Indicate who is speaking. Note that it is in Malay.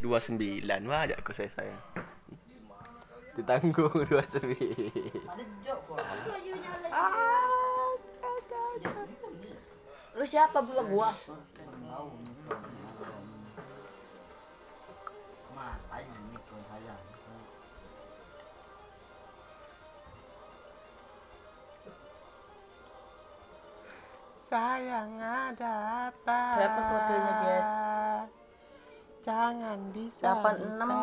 Speaker 1: dua sembilan banyak kau saya sayang tertanggung dua sembilan
Speaker 2: Ah, Lu siapa bukan gua?
Speaker 1: sayang ada apa
Speaker 3: Berapa fotonya, Jess?
Speaker 1: jangan bisa
Speaker 3: 86